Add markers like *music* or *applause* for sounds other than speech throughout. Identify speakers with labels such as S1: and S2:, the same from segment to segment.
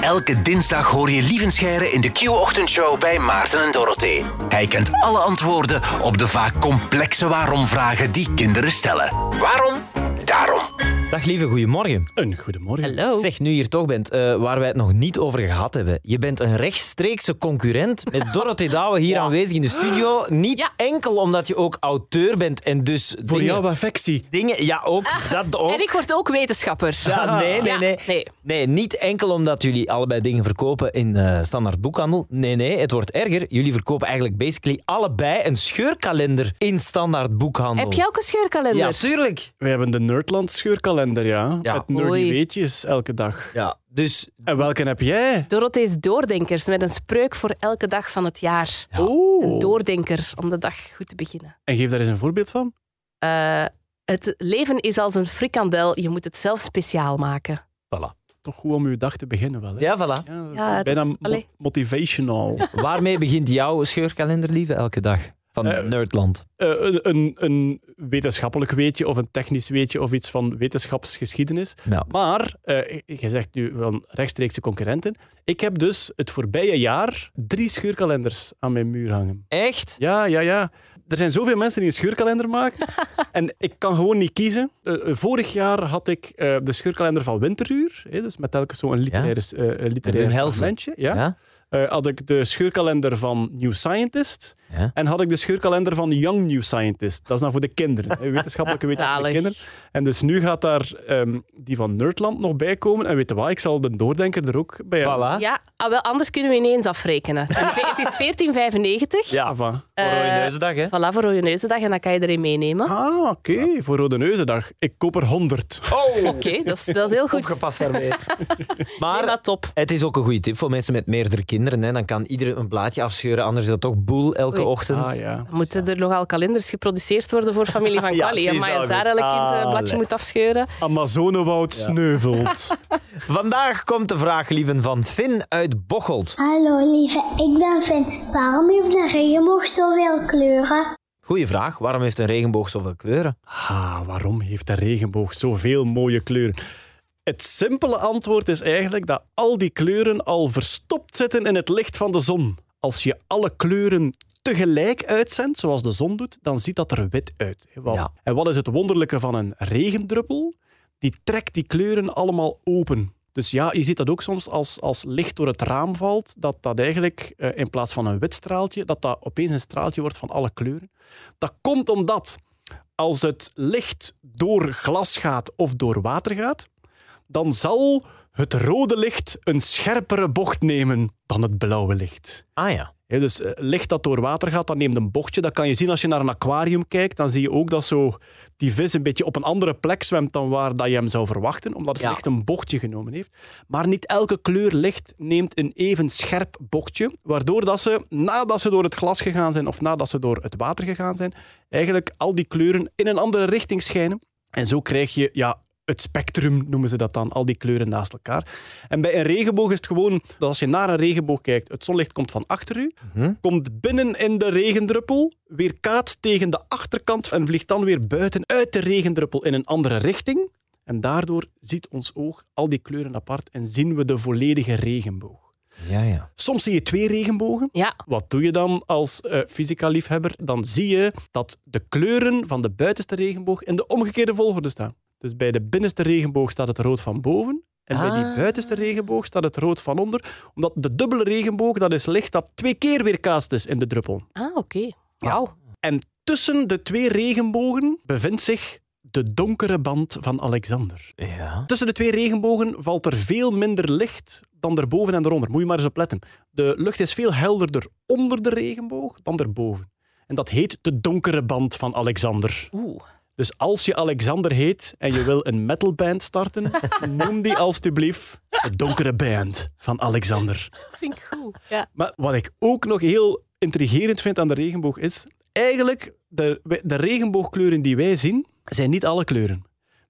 S1: Elke dinsdag hoor je Lievenscheire in de Q-ochtendshow bij Maarten en Dorothee. Hij kent alle antwoorden op de vaak complexe waarom-vragen die kinderen stellen. Waarom? Daarom.
S2: Dag lieve, goedemorgen.
S3: Een goedemorgen.
S4: Hallo.
S2: Zeg, nu je hier toch bent, eh, waar wij het nog niet over gehad hebben. Je bent een rechtstreekse concurrent
S4: *laughs*
S2: met Dorothee Douwe hier aanwezig in de studio. Niet
S4: Ja.
S2: enkel omdat je ook auteur bent en dus
S3: Voor
S2: dingen,
S3: jouw affectie.
S2: dingen... Ja, ook. Dat ook.
S4: Ah, En ik word ook wetenschapper.
S2: oh. Ja, nee, nee,
S4: Ja,
S2: nee,
S4: nee.
S2: Nee, niet enkel omdat jullie allebei dingen verkopen in eh, standaard boekhandel. Nee, nee, het wordt erger. Jullie verkopen eigenlijk basically allebei een scheurkalender in standaard boekhandel.
S4: Heb jij ook een scheurkalender?
S2: Ja, tuurlijk.
S3: We hebben de Nerdland scheurkalender, ja.
S2: Ja.
S3: Met nerdy
S4: Oei.
S3: weetjes elke dag.
S2: Ja, dus
S3: En welke heb jij?
S4: Dorothee's Doordenkers, met een spreuk voor elke dag van het jaar. Een
S2: Oh.
S3: Oeh.
S4: doordenker, om de dag goed te beginnen.
S3: En geef daar eens een voorbeeld van.
S4: Eh, het leven is als een frikandel, je moet het zelf speciaal maken.
S2: voilà.
S3: Toch goed om uw dag te beginnen wel. Hè?
S2: Ja,
S4: *laughs*
S2: voilà.
S3: Ja,
S4: Ja, het
S3: bijna
S4: is-
S3: mo-
S4: allee. *laughs*
S3: motivational. Eh,
S2: Waarmee begint jouw scheurkalender, lieve, elke dag? Van
S3: Eh,
S2: Nerdland.
S3: Eh, een, een, een wetenschappelijk weetje of een technisch weetje of iets van wetenschapsgeschiedenis.
S2: Nou,
S3: Maar, eh je zegt nu van rechtstreekse concurrenten. Ik heb dus het voorbije jaar drie scheurkalenders aan mijn muur hangen.
S2: echt?
S3: Ja, ja, ja. Er zijn zoveel mensen die een scheurkalender maken. en ik kan gewoon niet kiezen. Eh, eh, vorig jaar had ik eh, de scheurkalender van Winteruur. Hè, dus met telkens zo'n literair, eh eh, literair
S2: Wim Helsen.
S3: fragmentje. Ja.
S2: Ja?
S3: Eh, had ik de scheurkalender van New Scientist.
S2: Ja.
S3: En had ik de scheurkalender van Young New Scientist. Dat is dan voor de kinderen. hè, Wetenschappelijke *laughs* wetenschap voor de
S4: Zalig.
S3: kinderen. En dus nu gaat daar ehm, die van Nerdland nog bij komen. En weet je wat, ik zal de doordenker er ook bij hebben.
S2: Voilà.
S4: Ja, ah, wel, anders kunnen we ineens afrekenen.
S2: *laughs*
S4: het is 14,95.
S3: Ah, van.
S2: Voor Rode
S4: Eh,
S2: Neuzendag, hè?
S4: Voilà, voor Rode Neuzendag en dan kan je erin meenemen.
S3: Ah, oké. Voor Rode Neuzendag. Ik koop er 100.
S2: Oh,
S4: Oké, dat, is, dat is heel goed.
S2: opgepast
S4: *laughs*
S2: daarmee.
S4: Nee,
S2: maar
S4: maar top.
S2: het is ook een goede tip voor mensen met meerdere kinderen. Hè. Dan kan ieder een blaadje afscheuren, anders is dat toch boel elke
S4: Oei.
S2: ochtend.
S3: Ah, *laughs* ja.
S4: Dan moeten er nogal kalenders geproduceerd worden voor familie van
S2: Ja,
S4: Quali.
S2: het is
S4: maar
S2: al
S4: als daar
S2: goed.
S4: elk kind eh,
S2: Ah,
S4: een bladje
S2: le-
S4: moet afscheuren...
S3: Amazonewoud sneuvelt.
S2: Vandaag komt de vraag, lieven, van Finn uit Bocholt.
S5: Hallo lieve, ik ben Finn. Waarom heeft een regenboog zoveel kleuren?
S2: Goeie vraag. Waarom heeft een regenboog zoveel kleuren?
S3: Ah, waarom heeft de regenboog zoveel mooie kleuren? Het simpele antwoord is eigenlijk dat al die kleuren al verstopt zitten in het licht van de zon. Als je alle kleuren tegelijk uitzendt, zoals de zon doet, dan ziet dat er wit uit. Hè, wel.
S2: Ja.
S3: En wat is het wonderlijke van een regendruppel? Die trekt die kleuren allemaal open. Dus ja, je ziet dat ook soms als, als licht door het raam valt, dat dat eigenlijk eh, in plaats van een wit straaltje, dat dat opeens een straaltje wordt van alle kleuren. Dat komt omdat als het licht door glas gaat of door water gaat, dan zal het rode licht een scherpere bocht nemen dan het blauwe licht.
S2: Ah ja.
S3: Hè, dus eh, licht dat door water gaat, dat neemt een bochtje. Dat kan je zien als je naar een aquarium kijkt. Dan zie je ook dat zo die vis een beetje op een andere plek zwemt dan waar dat je hem zou verwachten, omdat het
S2: Ja.
S3: licht een bochtje genomen heeft. Maar niet elke kleur licht neemt een even scherp bochtje, waardoor dat ze, nadat ze door het glas gegaan zijn of nadat ze door het water gegaan zijn, eigenlijk al die kleuren in een andere richting schijnen. En zo krijg je ja, het spectrum, noemen ze dat dan, al die kleuren naast elkaar. En bij een regenboog is het gewoon dat als je naar een regenboog kijkt, het zonlicht komt van achter u,
S2: Mhm.
S3: komt binnen in de regendruppel, weer kaatst tegen de achterkant en vliegt dan weer buiten uit de regendruppel in een andere richting. En daardoor ziet ons oog al die kleuren apart en zien we de volledige regenboog.
S2: Ja, ja.
S3: Soms zie je twee regenbogen.
S4: Ja,
S3: Wat doe je dan als eh, fysica-liefhebber? Dan zie je dat de kleuren van de buitenste regenboog in de omgekeerde volgorde staan. Dus bij de binnenste regenboog staat het rood van boven. En bij die
S2: Ah.
S3: buitenste regenboog staat het rood van onder. Omdat de dubbele regenboog, dat is licht dat twee keer weerkaatst is in de druppel.
S4: ah, oké. Wauw.
S3: En tussen de twee regenbogen bevindt zich de donkere band van Alexander.
S2: Ja.
S3: Tussen de twee regenbogen valt er veel minder licht dan erboven en eronder. Moet je maar eens op letten. De lucht is veel helderder onder de regenboog dan erboven. En dat heet de donkere band van Alexander.
S4: Oeh.
S3: Dus als je Alexander heet en je wil een metalband starten, noem die alstublieft de donkere band van Alexander.
S4: Vind ik goed. Ja.
S3: Maar wat ik ook nog heel intrigerend vind aan de regenboog is, eigenlijk, de, de regenboogkleuren die wij zien, zijn niet alle kleuren.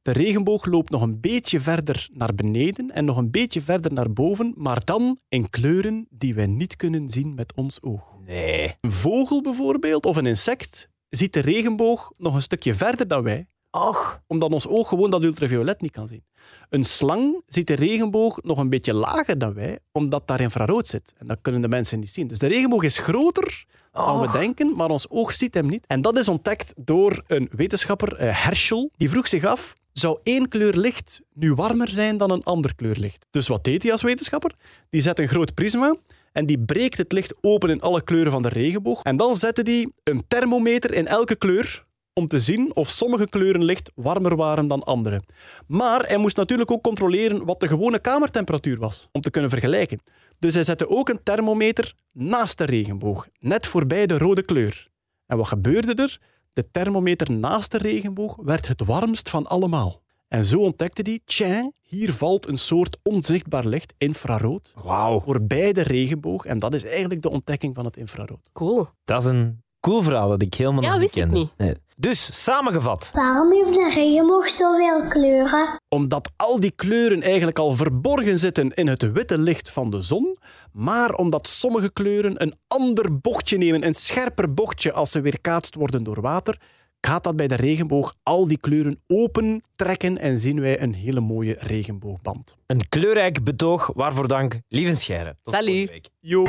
S3: De regenboog loopt nog een beetje verder naar beneden en nog een beetje verder naar boven, maar dan in kleuren die wij niet kunnen zien met ons oog.
S2: Nee.
S3: Een vogel bijvoorbeeld, of een insect, ziet de regenboog nog een stukje verder dan wij,
S2: Och,
S3: omdat ons oog gewoon dat ultraviolet niet kan zien. Een slang ziet de regenboog nog een beetje lager dan wij, omdat daar infrarood zit. En dat kunnen de mensen niet zien. Dus de regenboog is groter dan we
S2: Och.
S3: denken, maar ons oog ziet hem niet. En dat is ontdekt door een wetenschapper, eh, Herschel. Die vroeg zich af, zou één kleur licht nu warmer zijn dan een ander kleur licht? Dus wat deed hij als wetenschapper? Die zet een groot prisma en die breekt het licht open in alle kleuren van de regenboog. En dan zette hij een thermometer in elke kleur om te zien of sommige kleuren licht warmer waren dan andere. Maar hij moest natuurlijk ook controleren wat de gewone kamertemperatuur was, om te kunnen vergelijken. Dus hij zette ook een thermometer naast de regenboog, net voorbij de rode kleur. En wat gebeurde er? De thermometer naast de regenboog werd het warmst van allemaal. En zo ontdekte hij, tja, hier valt een soort onzichtbaar licht, infrarood,
S2: wauw.
S3: voorbij de regenboog. En dat is eigenlijk de ontdekking van het infrarood.
S4: Cool.
S2: Dat is een cool verhaal dat ik helemaal
S4: Ja,
S2: nog niet
S4: wist ik
S2: kende.
S4: niet.
S2: Nee. Dus, samengevat.
S5: Waarom heeft de regenboog zoveel kleuren?
S3: Omdat al die kleuren eigenlijk al verborgen zitten in het witte licht van de zon, maar omdat sommige kleuren een ander bochtje nemen, een scherper bochtje als ze weerkaatst worden door water, gaat dat bij de regenboog al die kleuren open trekken en zien wij een hele mooie regenboogband.
S2: Een kleurrijk betoog, waarvoor dank, lieve Scheire. Tot
S4: Salut.
S2: volgende week.
S3: Joep.